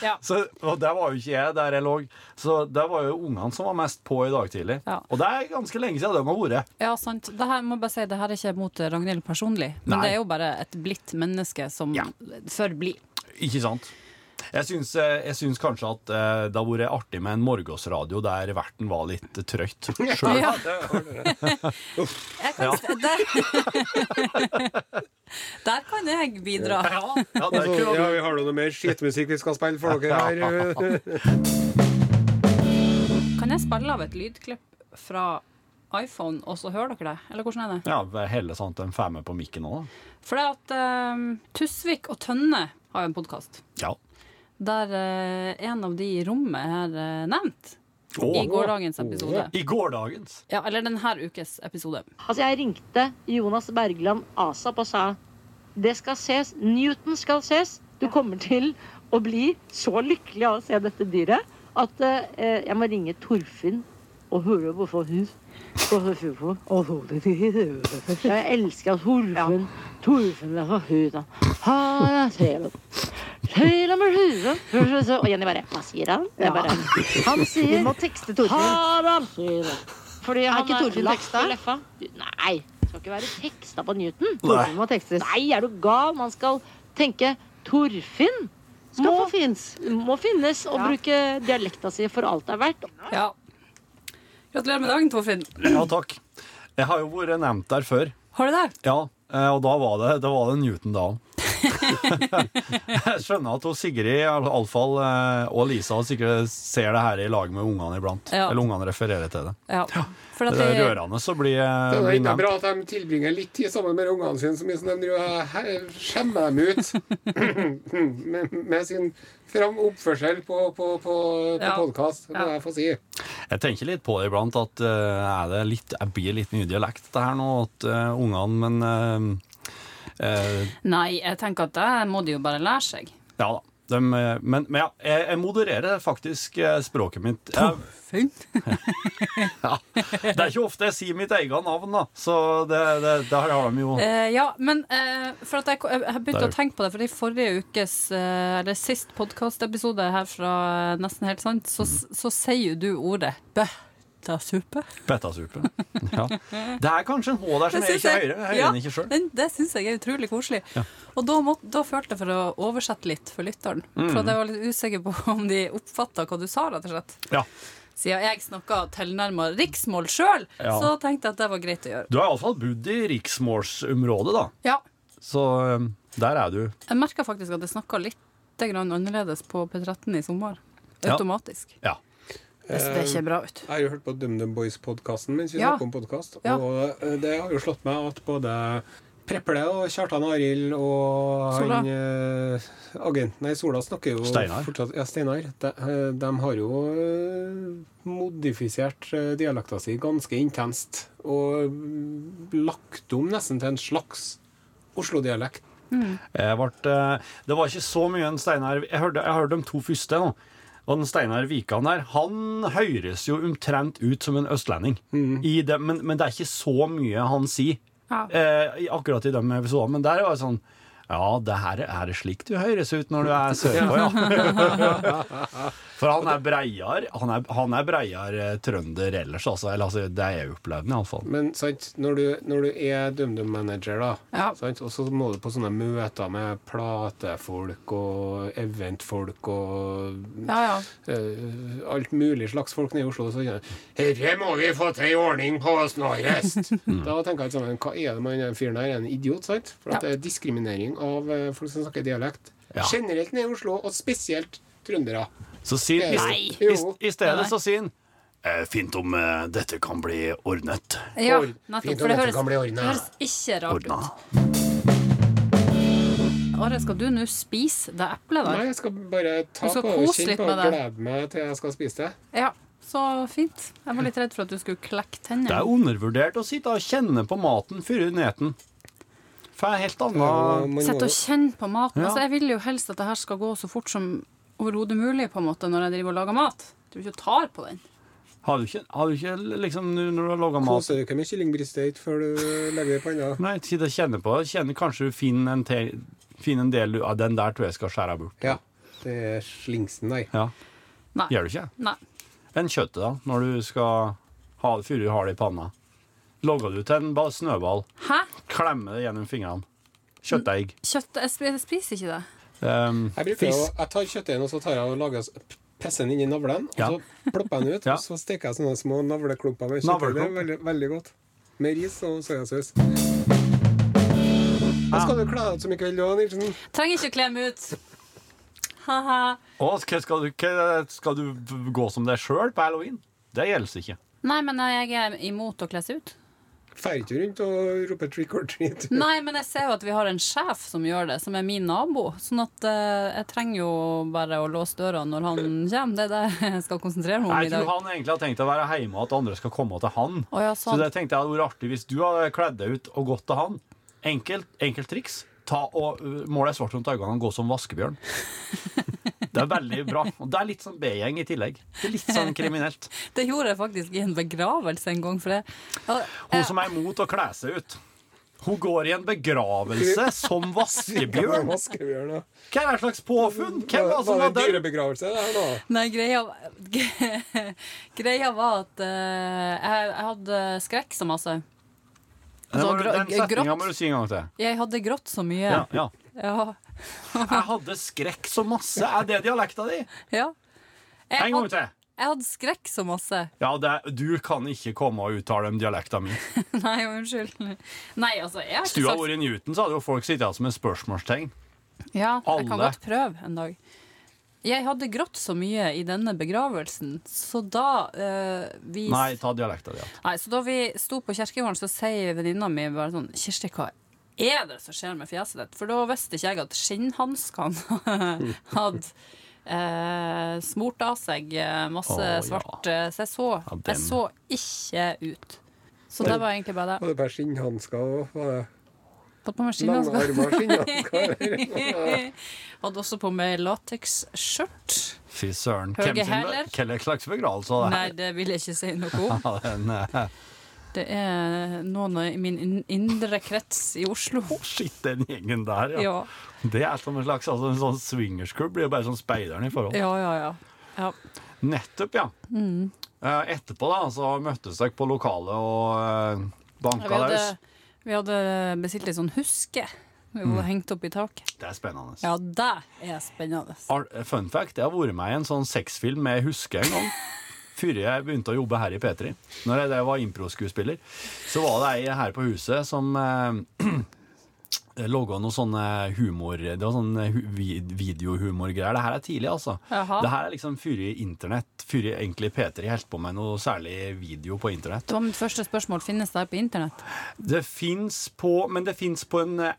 S4: ja.
S2: Så, og der var jo ikke jeg der jeg lå. Så der var jo ungene som var mest på i dag tidlig.
S4: Ja.
S2: Og det er ganske lenge siden de har vært.
S4: ja sant. Det her, må jeg bare si, det her er ikke mot eh, Ragnhild personlig, men
S2: Nei.
S4: det er jo bare et blidt menneske som
S2: Ja.
S4: forblir.
S2: Ikke sant? Jeg syns, eh, jeg syns kanskje at eh, det har vært artig med en morgensradio der verten var litt trøyt. Selv.
S4: Ja.
S3: Det
S4: Jeg kan, der, der kan jeg bidra.
S2: Ja, ja, det
S3: Altså,
S2: kunne
S3: ja,
S2: du.
S3: vi har noe mer skitmusikk vi skal spille for dere her.
S4: Kan jeg spille av et lydklipp fra iPhone, og så hører dere det? Eller hvordan er det?
S2: Ja, Helle sant, en femmer på mikken nå, da.
S4: For det at eh, Tusvik og Tønne har jo en podkast
S2: Ja.
S4: der eh, en av de i rommet er eh, nevnt i gårsdagens episode.
S2: I gårdagens.
S4: Ja, eller denne ukes episode.
S5: Altså, jeg ringte Jonas Bergland ASAP og sa det skal ses, Newton skal ses. Du kommer til å bli så lykkelig av å se dette dyret at eh, jeg må ringe Torfinn og høre hvorfor hun Jeg elsker Torfinn. Torfinn er så høyt. Har jeg sett Høyre med huet Og Jenny bare Hva sier han? Jeg bare, han sier
S6: Vi må tekste Torfinn.
S5: Harald sier det. Fordi han
S6: ikke Torfinn
S5: lapp
S6: teksta?
S5: i leffa. Du, Nei, det skal ikke være teksta på Newton.
S6: Torfinn må tekstes.
S5: Nei, er du gal? Man skal tenke Torfinn skal
S6: Må
S5: må,
S6: fins.
S5: må finnes og
S6: Ja.
S5: bruke dialekta si for alt det er verdt.
S4: Ja. Gratulerer med dagen, Torfinn.
S2: Ja, takk. Jeg har jo vært nevnt der før.
S4: Har du det?
S2: Ja, eh, og da var det, da var det Newton Dahl. jeg skjønner at hun Sigrid, i alle fall, eh, og Lisa sikkert ser det her i lag med ungene iblant.
S4: Ja.
S2: Eller ungene refererer til det.
S4: Ja. For at
S2: Det er
S4: jeg,
S2: rørende å bli, eh,
S3: Det er
S2: bli
S3: jo ikke
S2: nevnt.
S3: bra at de tilbringer litt tid sammen med ungene sine, så mye som sånn, de driver og he- skjemmer dem ut med, med sin fram oppførsel på, på, på, på
S4: Ja.
S3: podkast, må
S4: Ja.
S3: jeg få si.
S2: Jeg tenker litt på det iblant, at eh, er det litt, jeg blir litt ny dialekt det her nå, at eh, ungene, men eh, eh,
S4: nei, jeg tenker at det må de jo bare lære seg.
S2: ja da. De, eh, men, men ja, jeg, jeg modererer faktisk eh, språket mitt. Jeg,
S4: Fint.
S2: ja. Det er ikke ofte jeg sier mitt eget navn, da. Så det, det, det her har de jo
S4: Eh, ja, men eh, for at jeg, jeg, jeg begynte
S2: Der.
S4: å tenke på det, for i forrige ukes, eh, eller sist podkastepisode her fra eh, Nesten helt sant, så, så sier jo du ordet bøttasuppe.
S2: Petasupe. Ja. Det er kanskje en H der som jeg ikke hører. Jeg hører den ikke sjøl.
S4: den- det syns jeg er utrolig koselig. Og da, må, da følte jeg for å oversette litt for lytteren.
S2: Mm.
S4: For at jeg var litt usikker på om de oppfatta hva du sa, rett og slett.
S2: Ja.
S4: Siden jeg snakka tilnærma riksmål sjøl,
S2: Ja.
S4: så tenkte jeg at det var greit å gjøre.
S2: Du har iallfall bodd i riksmålsområdet, da.
S4: Ja,
S2: Så um, der er du.
S4: Jeg merka faktisk at jeg snakka litt grann annerledes på P13 i sommer.
S2: Ja.
S4: Automatisk.
S2: Ja.
S4: Det ser ikke bra ut.
S3: Jeg har jo hørt på DumDum Boys-podkasten mens vi
S4: Ja.
S3: snakker om podkast,
S4: Ja.
S3: og eh, det har jo slått meg at både Preple og Kjartan Arild og
S4: Sola.
S3: han eh, agenten Nei, Sola snakker jo
S2: Steinar.
S3: fortsatt Ja, Steinar. De, eh, de har jo eh, modifisert eh, dialekta si ganske intenst. Og mm, lagt om nesten til en slags Oslo-dialekt.
S2: Jeg vart, eh, det var ikke så mye en Steinar Jeg hørte, jeg hørte de to første nå. Og den Steinar Vikan der, han høres jo omtrent ut som en østlending. I det, men, men det er ikke så mye han sier
S4: Ja.
S2: eh, i- akkurat i de episodene. Men der var det sånn Ja, det her er- er det slik du høres ut når du er sørpå, ja. For han er breiar, han er, han er breiar eh, trønder ellers, altså. Eller altså, det er jeg opplevd, iallfall.
S3: Men sant, når du, når du er DumDum-manager, da,
S4: Ja.
S3: sant, og så må du på sånne møter med platefolk og eventfolk og
S4: Ja, ja.
S3: eh, alt mulig slags folk nede i Oslo, så sier de, Herre må vi få til ei ordning på snarest!
S4: Mm.
S3: Da tenker jeg sammen, hva er det med den fyren der? Er han en idiot, sant? For at
S4: Ja.
S3: det er diskriminering av eh, folk som snakker dialekt.
S2: Ja.
S3: Generelt nede i Oslo, og spesielt trøndere.
S2: Så si, i,
S3: Nei.
S2: i, i stedet
S4: Nei.
S2: så sier han eh, Fint om eh, dette kan bli ordnet.
S4: ja
S3: Ord.
S4: nettopp.
S3: Fint
S4: For
S3: om
S4: det
S3: dette
S4: høres,
S3: kan bli
S4: det
S3: ordnet.
S4: høres ikke rart
S2: Ordna.
S4: ut. Are, skal du nå spise det eplet
S3: Nei,
S4: der?
S3: jeg skal bare ta
S4: Du skal
S3: på det og
S4: kose
S3: kjenne
S4: litt
S3: på det og
S4: med det.
S3: glede meg til jeg skal spise det.
S4: Ja. Så fint. Jeg var litt redd for at du skulle klekke
S2: Det
S4: tennene.
S2: er undervurdert å sitte og kjenne på maten før neten. For en helt
S3: Og
S2: annen
S3: man må
S4: Sett
S3: jo-
S4: og kjenn på maten.
S2: Ja.
S4: Altså, jeg vil jo helst at det her skal gå så fort som overhodet mulig, på en måte, når jeg driver og lager mat. Du ikke tar på den.
S2: Har du ikke, har du ikke liksom når du har laga mat
S3: Koser du ikke med kyllingbristet før du legger det i panna?
S2: Nei, sitte og kjenne på det. Kjenne, kanskje du finner en, te, finner en del du ah, Den der tror jeg skal skjære bort.
S3: Ja. Det er slingsen der.
S2: Ja,
S4: Nei.
S2: Gjør du ikke?
S4: Nei.
S2: Enn kjøttet, da, når du skal ha før du har det i panna. Logger du til en ba- snøball,
S4: Hæ?
S2: klemmer det gjennom fingrene. Kjøttdeig.
S4: Kjøtt Jeg sp- jeg spiser ikke det.
S2: Um,
S3: Jeg, bruker jo,
S2: fisk.
S3: jeg tar kjøttdeigen og så tar jeg og lager Pisser den inn i navlen,
S2: Ja.
S3: og så plopper jeg den ut.
S2: Ja.
S3: Og så steker jeg sånne små navleklumper med kjøttdeig. Det er veldig, veldig godt. Med ris og soyasaus. Da
S2: Ah.
S3: skal du kle deg ut som i kveld òg, Nilsen.
S4: Trenger ikke å kle meg ut. Ha-ha.
S2: Og skal, skal, du, ikke- skal du gå som deg sjøl på halloween? Det gjelder ikke.
S4: Nei, men jeg er imot å kle seg ut.
S3: Drar ikke rundt og roper 'trick or treat'.
S4: Nei, men jeg ser jo at vi har en sjef som gjør det, som er min nabo. Sånn at eh, jeg trenger jo bare å låse døra når han kommer. Det er det jeg skal konsentrere meg om
S2: Jeg
S4: i
S2: tror
S4: dag.
S2: han egentlig har tenkt å være hjemme, og at andre skal komme til han.
S4: Å, ja,
S2: Så
S4: sånn.
S2: det tenkte jeg hadde vært artig hvis du hadde kledd deg ut og gått til han. Enkelt, enkelt triks. Ta og uh, Mål deg svart rundt øynene og gå som vaskebjørn. Det er veldig bra. Og det er litt sånn B-gjeng i tillegg. Det er Litt sånn kriminelt.
S4: Det gjorde jeg faktisk i en begravelse en gang. For jeg, og,
S2: Hun som er imot å kle seg ut. Hun går i en begravelse som vaskebjørn.
S3: Vaskebjørn. ja.
S2: Hva er det slags påfunn? Hvem var det som var
S3: Var det
S2: der?
S3: dyrebegravelse, det her nå?
S4: Nei, greia, greia var at eh, jeg, jeg hadde skrekk så masse.
S2: Den, var-
S4: Altså,
S2: den
S4: gr-
S2: setninga
S4: grått.
S2: må du si en gang til.
S4: Jeg hadde grått så mye.
S2: Ja, ja.
S4: Ja.
S2: Jeg hadde skrekk så masse. Er det dialekta di?
S4: ja. Jeg
S2: En gang
S4: hadde-
S2: til.
S4: Jeg hadde skrekk så masse.
S2: Ja, det er, Du kan ikke komme og uttale om dialekta mi.
S4: Nei, unnskyld. Nei, altså, jeg har ikke
S2: Hvis du hadde
S4: sagt
S2: vært i Newton, så hadde jo folk sittet her som et spørsmålstegn.
S4: Ja, jeg kan
S2: Alle.
S4: godt prøve en dag. Jeg hadde grått så mye i denne begravelsen, så da eh, vi
S2: Nei, ta dialekta di.
S4: Nei, så da vi sto på kirkegården, så sier venninna mi bare sånn Kirsti, hva er det som skjer med fjeset ditt? For da visste ikke jeg at skinnhanskene hadde eh, smurt av seg eh, masse
S2: Å, ja.
S4: svart eh, Så jeg så,
S2: Ja, den.
S4: jeg så ikke ut. Så det var egentlig bare det.
S3: Var det bare skinnhansker og var det
S4: Tatt på meg
S3: lange
S4: skinnhansker.
S3: armer og skinnhansker?
S4: Hadde også på meg lateksskjørt.
S2: Fy søren.
S4: Høge
S2: Hvem sin
S4: hæler?
S2: Hva slags begravelse var det
S4: Nei,
S2: her?
S4: det vil jeg ikke si noe om.
S2: Ja, den, eh,
S4: Det er noen i min in- indre krets i Oslo.
S2: Å, shit, den gjengen der, ja.
S4: Ja,
S2: Det er som en slags altså, en sånn swingersklubb. Blir jo bare sånn speideren i forhold.
S4: ja, ja. ja. ja.
S2: Nettopp, ja. Eh, Etterpå da, så møttes dere på lokalet og eh,
S4: Ja,
S2: banka
S4: Vi hadde,
S2: løs.
S4: vi hadde bestilt litt sånn huske. Vi
S2: Mm.
S4: var hengt opp i taket.
S2: Det er spennende.
S4: Ja, det er spennende.
S2: Ar- Fun fact, jeg har vært med i en sånn sexfilm jeg husker en gang. Før jeg begynte å jobbe her i P3, når jeg, da jeg var improskuespiller, så var det ei her på huset som eh, laga noe sånne humor Det var sånne hu vid- videohumorgreier. Det her er tidlig, altså.
S4: Jaha.
S2: Det her er liksom før i internett, før i egentlig P3 holdt på med noe særlig video på internett.
S4: Det var mitt første spørsmål. Finnes det her på internett?
S2: Det fins på Men det fins på en eh,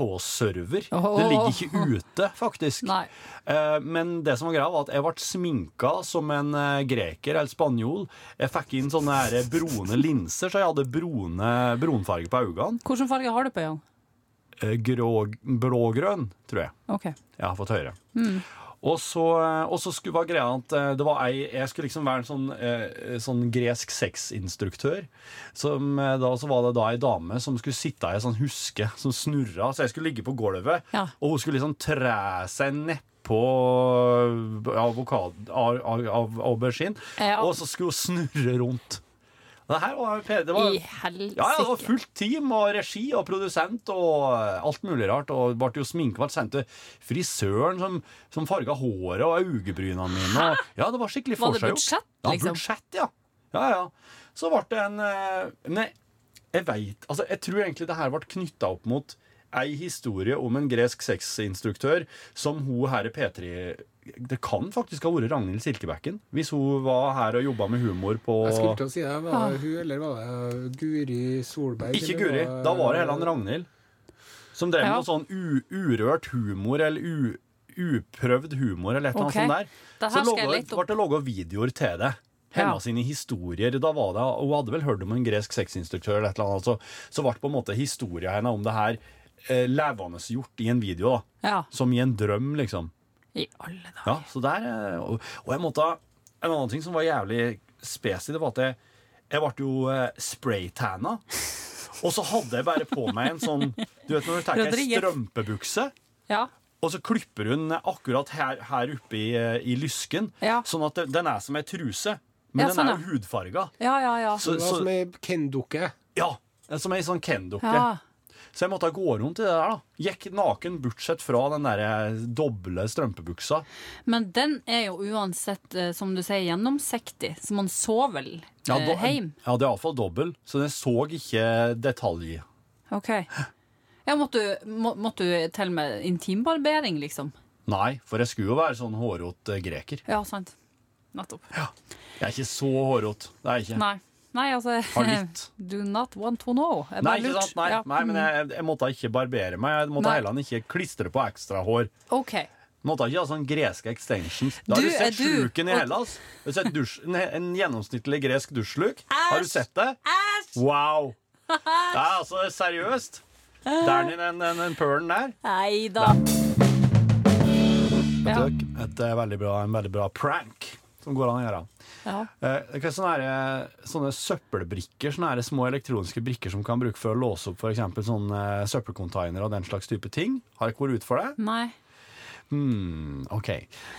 S2: NRK-server.
S4: Åh.
S2: Det ligger ikke ute, faktisk.
S4: Nei.
S2: Eh, Men det som var greia, var at jeg ble sminka som en eh, greker eller spanjol. Jeg fikk inn sånne her brune linser, så jeg hadde brune, brunfarge på øynene.
S4: Hvilken farge har du på øynene?
S2: Eh, Grå, blågrønn, tror jeg.
S4: OK.
S2: Jeg har fått høre.
S4: Mm.
S2: Og så, og så skulle være greia at eh, det var ei, jeg skulle liksom være en sånn, eh, sånn gresk sexinstruktør. Som, eh, da, så var det da ei dame som skulle sitte i ei sånn huske som snurra. Så jeg skulle ligge på gulvet,
S4: Ja.
S2: og hun skulle liksom tre seg nedpå avokado- av, av, av aubergine.
S4: Ja.
S2: Og så skulle hun snurre rundt. Og Det her var, jo- det var
S4: I
S2: ja, ja, det var
S4: helsike.
S2: fullt team og regi og produsent og alt mulig rart. Og det ble jo sminke, ble sendt til frisøren som, som farga håret og øyebrynene mine. Og, ja, det var skikkelig
S4: Var det
S2: forseggjort.
S4: budsjett,
S2: Ja,
S4: liksom?
S2: budsjett, ja. ja, ja. Så ble det en eh, Men jeg- jeg veit Altså, jeg tror egentlig det her ble knytta opp mot ei historie om en gresk sexinstruktør som hun her i P3 Det kan faktisk ha vært Ragnhild Silkebekken, hvis hun var her og jobba med humor på
S3: Jeg skulle til å si det. Var det hun, eller var det Guri Solberg?
S2: Ikke
S3: eller
S2: Guri. Da var det Helland Ragnhild. Som drev med
S4: Ja.
S2: noe sånn u urørt humor eller u uprøvd humor eller et eller annet
S4: Ok.
S2: sånt der.
S4: Det
S2: Så
S4: her skal jeg
S2: laget-
S4: litt
S2: ble
S4: opp.
S2: det laga videoer til det.
S4: Ja.
S2: Hennes sine historier. Da var det, hun hadde vel hørt om en gresk sexinstruktør eller et eller annet. Så, så ble på en måte historia hennes om det her eh, levende gjort i en video. da.
S4: Ja.
S2: Som i en drøm, liksom.
S4: I alle dager.
S2: Ja, så der eh, Og, og jeg måtte En annen ting som var jævlig spesiv, det var at jeg, jeg ble jo eh, spraytanna. Og så hadde jeg bare på meg en sånn Du vet når du tenker ei
S4: Rodriguez.
S2: strømpebukse,
S4: Ja.
S2: og så klipper hun akkurat her, her oppe i, eh, i lysken,
S4: Ja.
S2: sånn at det, den er som ei truse. Men
S4: Ja,
S2: den
S4: sånn,
S2: er jo hudfarga.
S4: Ja, ja, ja.
S2: Så,
S3: Det var
S2: så,
S3: som ei Ken-dukke.
S2: ja, som ei sånn Ken-dukke.
S4: ja.
S2: Så jeg måtte gå rundt i det der. da Gikk naken bortsett fra den der eh, doble strømpebuksa.
S4: Men den er jo uansett, eh, som du sier, gjennomsiktig, så man så vel
S2: Ja,
S4: eh,
S2: da-
S4: heim.
S2: Ja, det er iallfall dobbel, så jeg så ikke detalj.
S4: OK. Ja, måtte du- må- måtte du til med intimbarbering, liksom?
S2: Nei, for jeg skulle jo være sånn hårrot eh, greker.
S4: Ja, sant. Nettopp.
S2: Jeg er ikke så hårrot. Det er jeg ikke.
S4: Nei. Nei, altså
S2: Har litt.
S4: Do not want to know. Jeg
S2: Nei,
S4: bare
S2: ikke
S4: lurte.
S2: sant? Nei,
S4: Ja.
S2: nei men jeg, jeg måtte ikke barbere meg. Jeg måtte
S4: Nei.
S2: heller ikke klistre på ekstra hår.
S4: Mm, OK.
S2: Måtte ikke ha sånn greske extensions. Da har
S4: Du,
S2: du sett
S4: er du-
S2: sluken i Hellas. Har du sett dusj, en, en gjennomsnittlig gresk dusjsluk? Har du
S4: Æsj!
S2: sett det? Wow! Det er altså seriøst. Der nede, den, den, den pølen der.
S4: Nei da. Ja.
S2: Takk. Et eh, veldig bra, en veldig bra prank som går an å gjøre.
S4: Ja.
S2: Eh, det kan sånne, her, eh, sånne søppelbrikker, sånne her små elektroniske brikker som kan bruke for å låse opp for eksempel sånne eh, søppelcontainer og den slags type ting. Har jeg ikke vært ute for det?
S4: Nei.
S2: Hmm, ok.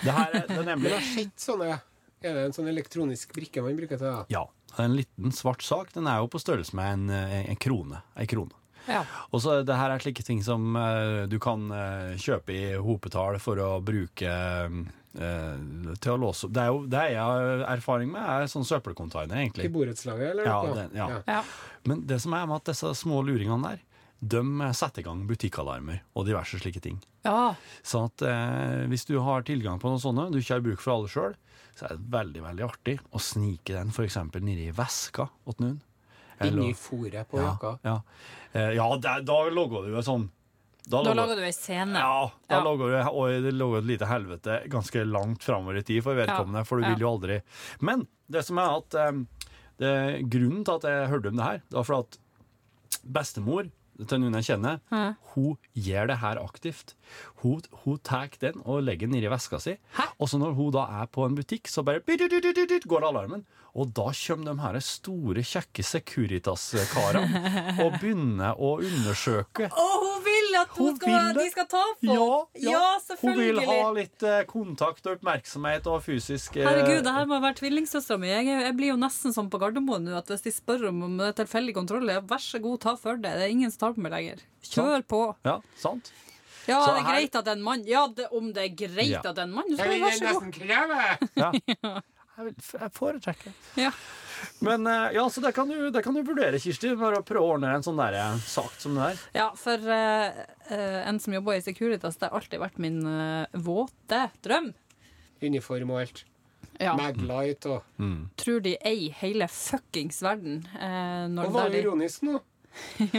S2: Det her er, det er
S3: Men
S2: nemlig
S3: jeg har sett sånne. Er det en sånn elektronisk brikke man bruker til det?
S2: Ja, en liten svart sak. Den er jo på størrelse med en, eh, en krone. En krone.
S4: Ja.
S2: Og så det her er slike ting som eh, du kan eh, kjøpe i hopetall for å bruke eh, til å låse opp. Det, er jo, det jeg har erfaring med, er sånn søppelcontainer,
S3: I
S2: egentlig.
S3: borettslaget, eller?
S2: Ja,
S3: noe?
S2: den- ja.
S4: Ja.
S2: Men det som er med at disse små luringene der, de setter i gang butikkalarmer og diverse slike ting.
S4: ja.
S2: Sånn at eh, hvis du har tilgang på noen sånne, du ikke har bruk for alle sjøl, så er det veldig veldig artig å snike den f.eks. nedi veska åt noen.
S3: Inni fôret på
S2: ja,
S3: jakka.
S2: ja. Eh, ja der, da logger du jo sånn.
S4: Da lager du ei scene.
S2: Ja, da
S4: Ja.
S2: logger du og det logger et lite helvete ganske langt framover i tid for vedkommende,
S4: Ja.
S2: for du
S4: Ja.
S2: vil jo aldri Men det som er at eh, det, grunnen til at jeg hørte om det her, det var fordi at bestemor til noen jeg kjenner,
S4: Mhm.
S2: hun gjør det her aktivt. Hun, hun tar den og legger den nedi veska si.
S4: Hæ?
S2: Og så når hun da er på en butikk, så bare bidududududud går alarmen. Og da kommer de her store, kjekke Securitas-karene og begynner å undersøke
S4: Og hun vil at hun
S2: Hun
S4: skal,
S2: vil det.
S4: de skal ta på!
S2: ja, Hun vil
S4: selvfølgelig.
S2: ha litt eh, kontakt og oppmerksomhet og fysisk eh,
S4: Herregud, det her må være tvillingsøstera mi. Jeg, er- jeg blir jo nesten som på Gardermoen nå, at hvis de spør om, om det er tilfeldig kontroll, ja, vær så god, ta for deg. Det er ingen som tar på meg lenger. Kjør
S2: Sant.
S4: på.
S2: Ja, sant?
S4: Ja,
S2: Så
S4: det er
S2: her-
S4: greit at det er en mann. Ja, det, om det er greit
S2: Ja.
S4: at det er en mann, så
S3: Jeg vil
S4: vær så god.
S3: nesten kreve!
S2: Ja. Jeg vil- Jeg foretrekker
S4: Ja.
S2: Men eh, ja, så det kan, du, det kan du vurdere, Kirsti. Bare å prøve å ordne en sånn der, eh, sak som det der.
S4: Ja, for eh, eh, en som jobber i Securitas, det har alltid vært min eh, våte drøm.
S3: Uniform og alt.
S4: Ja.
S3: Maglight og
S4: Tror de eier hele fuckings verden. eh,
S3: Og
S4: når det
S3: var
S4: der de,
S3: ironisk nå.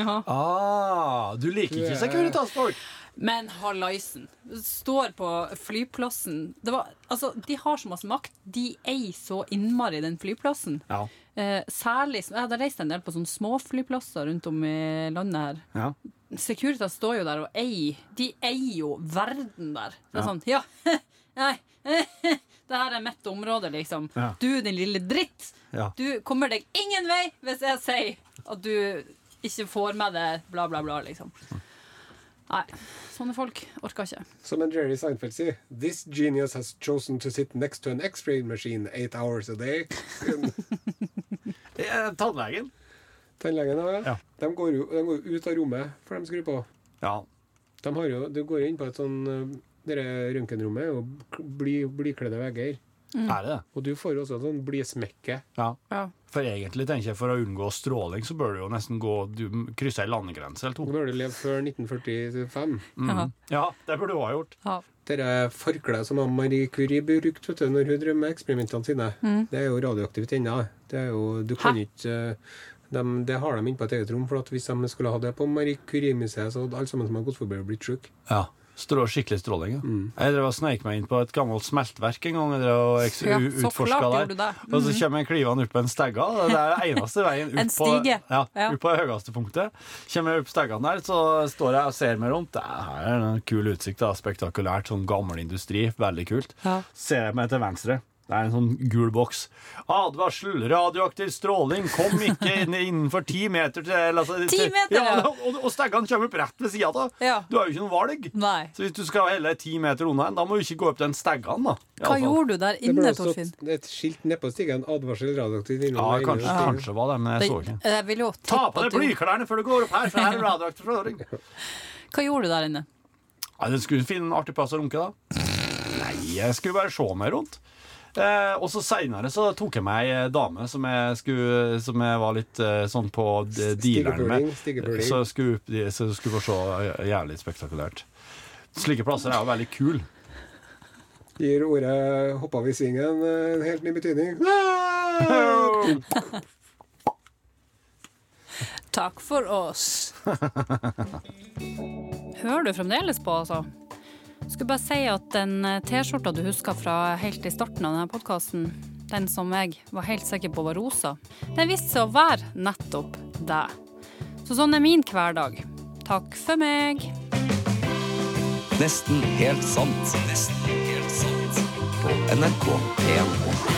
S4: ja.
S2: Ah, du liker
S3: Du
S2: ikke
S3: er-
S2: Securitas-folk?
S4: Men hallaisen står på flyplassen. Det var, altså, de har så masse makt. De eier så innmari den flyplassen.
S2: Ja.
S4: Eh, særlig, Jeg har reist en del på sånne småflyplasser rundt om i landet her.
S2: ja.
S4: Securitas står jo der og eier. De eier jo verden der. Det er sånn, ja, nei, det her er mitt område, liksom.
S2: Ja.
S4: Du, din lille dritt.
S2: Ja.
S4: Du kommer deg ingen vei hvis jeg sier at du ikke får med deg bla, bla, bla, liksom. Nei, sånne folk orker ikke.
S3: Som en Jerry Seinfeld sier This genius has chosen to sit next to an x-ray machine eight hours a day.
S2: Eh, Tannlegen.
S3: Tannlegen òg,
S2: Ja.
S3: ja. De går jo de går jo ut av rommet for de skrur på.
S2: Ja.
S3: De har jo, du går inn på et sånn eh, Dere røntgenrommet er jo k- bly, blykledde vegger.
S2: Er det det?
S3: Og du får jo også et sånn blysmekke.
S2: Ja.
S4: Mm. Ja.
S2: For egentlig tenker jeg for å unngå stråling, så bør du jo nesten gå Du krysse ei landegrense eller to.
S3: Nå
S4: Mm.
S3: bør du leve før 1945.
S2: Mm.
S4: Ja.
S2: Ja, det burde du ha gjort.
S4: Ja.
S3: Dette forkleet som Marie Curie brukte vet du, når hun drev med eksperimentene sine, det er jo radioaktivt ennå. Det er jo, du kan
S4: Hæ?
S3: ikke eh, dem- Det har de inne på et eget rom, for at hvis de skulle ha det på Marie Curie-museet, så hadde alle sammen som har gått forbi, blitt syke.
S2: Ja. Strå, skikkelig stråling. Ja. Jeg drev og sneik meg inn på et gammelt smeltverk en gang. Jeg drev og eks-
S4: Ja,
S2: u-
S4: så
S2: utforska
S4: klart
S2: der.
S4: gjorde du det. Mm.
S2: Og så kommer jeg klivende opp en stegga. og Det er den eneste veien
S4: En
S2: ut på,
S4: stige.
S2: ja,
S4: Ja.
S2: ut på det høyeste punktet. Kommer jeg opp steggene der, så står jeg og ser meg rundt. Det her er en kul utsikt. Da. Spektakulært. Sånn gammel industri. Veldig kult.
S4: Ja.
S2: Ser jeg meg til venstre. Det er en sånn gul boks. Advarsel! Radioaktiv stråling! Kom ikke inn innenfor ti meter til altså,
S4: Ti meter,
S2: Ja,
S4: ja.
S2: og, og steggene kommer opp rett ved sida av.
S4: Ja.
S2: Du har jo ikke noen valg.
S4: Nei.
S2: Så hvis du skal helle ti meter unna en, da må du ikke gå opp den steggan, da. I
S4: Hva
S2: alle fall.
S4: gjorde du der
S3: Det burde
S4: inne,
S3: ha stått
S4: Torfinn?
S3: et skilt nedpå stigen, advarsel radioaktivt
S2: Ja,
S3: innhold.
S2: kanskje, kanskje var det, men jeg så
S4: Det-
S2: ikke.
S4: Jeg vil jo tippe
S2: Ta på
S4: at
S2: deg
S4: du-
S2: blyklærne før du går opp her, for her er radioaktiv stråling.
S4: Hva gjorde du der inne?
S2: Ja, du skulle finne en artig plass å runke, da. Nei, jeg skulle bare se meg rundt. Eh, og så seinere så tok jeg meg ei dame som jeg, skulle, som jeg var litt eh, sånn på d- dealeren med.
S3: Stigepuling, stigepuling.
S2: Så jeg skulle, opp- så jeg skulle få se jævlig spektakulært. Slike plasser er jo veldig kule.
S3: Gir ordet 'hoppa av i svingen' eh, en helt ny betydning.
S4: Takk for oss. Hører du fremdeles på, altså? Skulle bare si at den eh, T-skjorta du husker fra helt i starten av denne podkasten, den som jeg var helt sikker på var rosa, den viste seg å være nettopp deg. Så sånn er min hverdag. Takk for meg.
S1: Nesten helt sant. Nesten helt sant. På NRK1.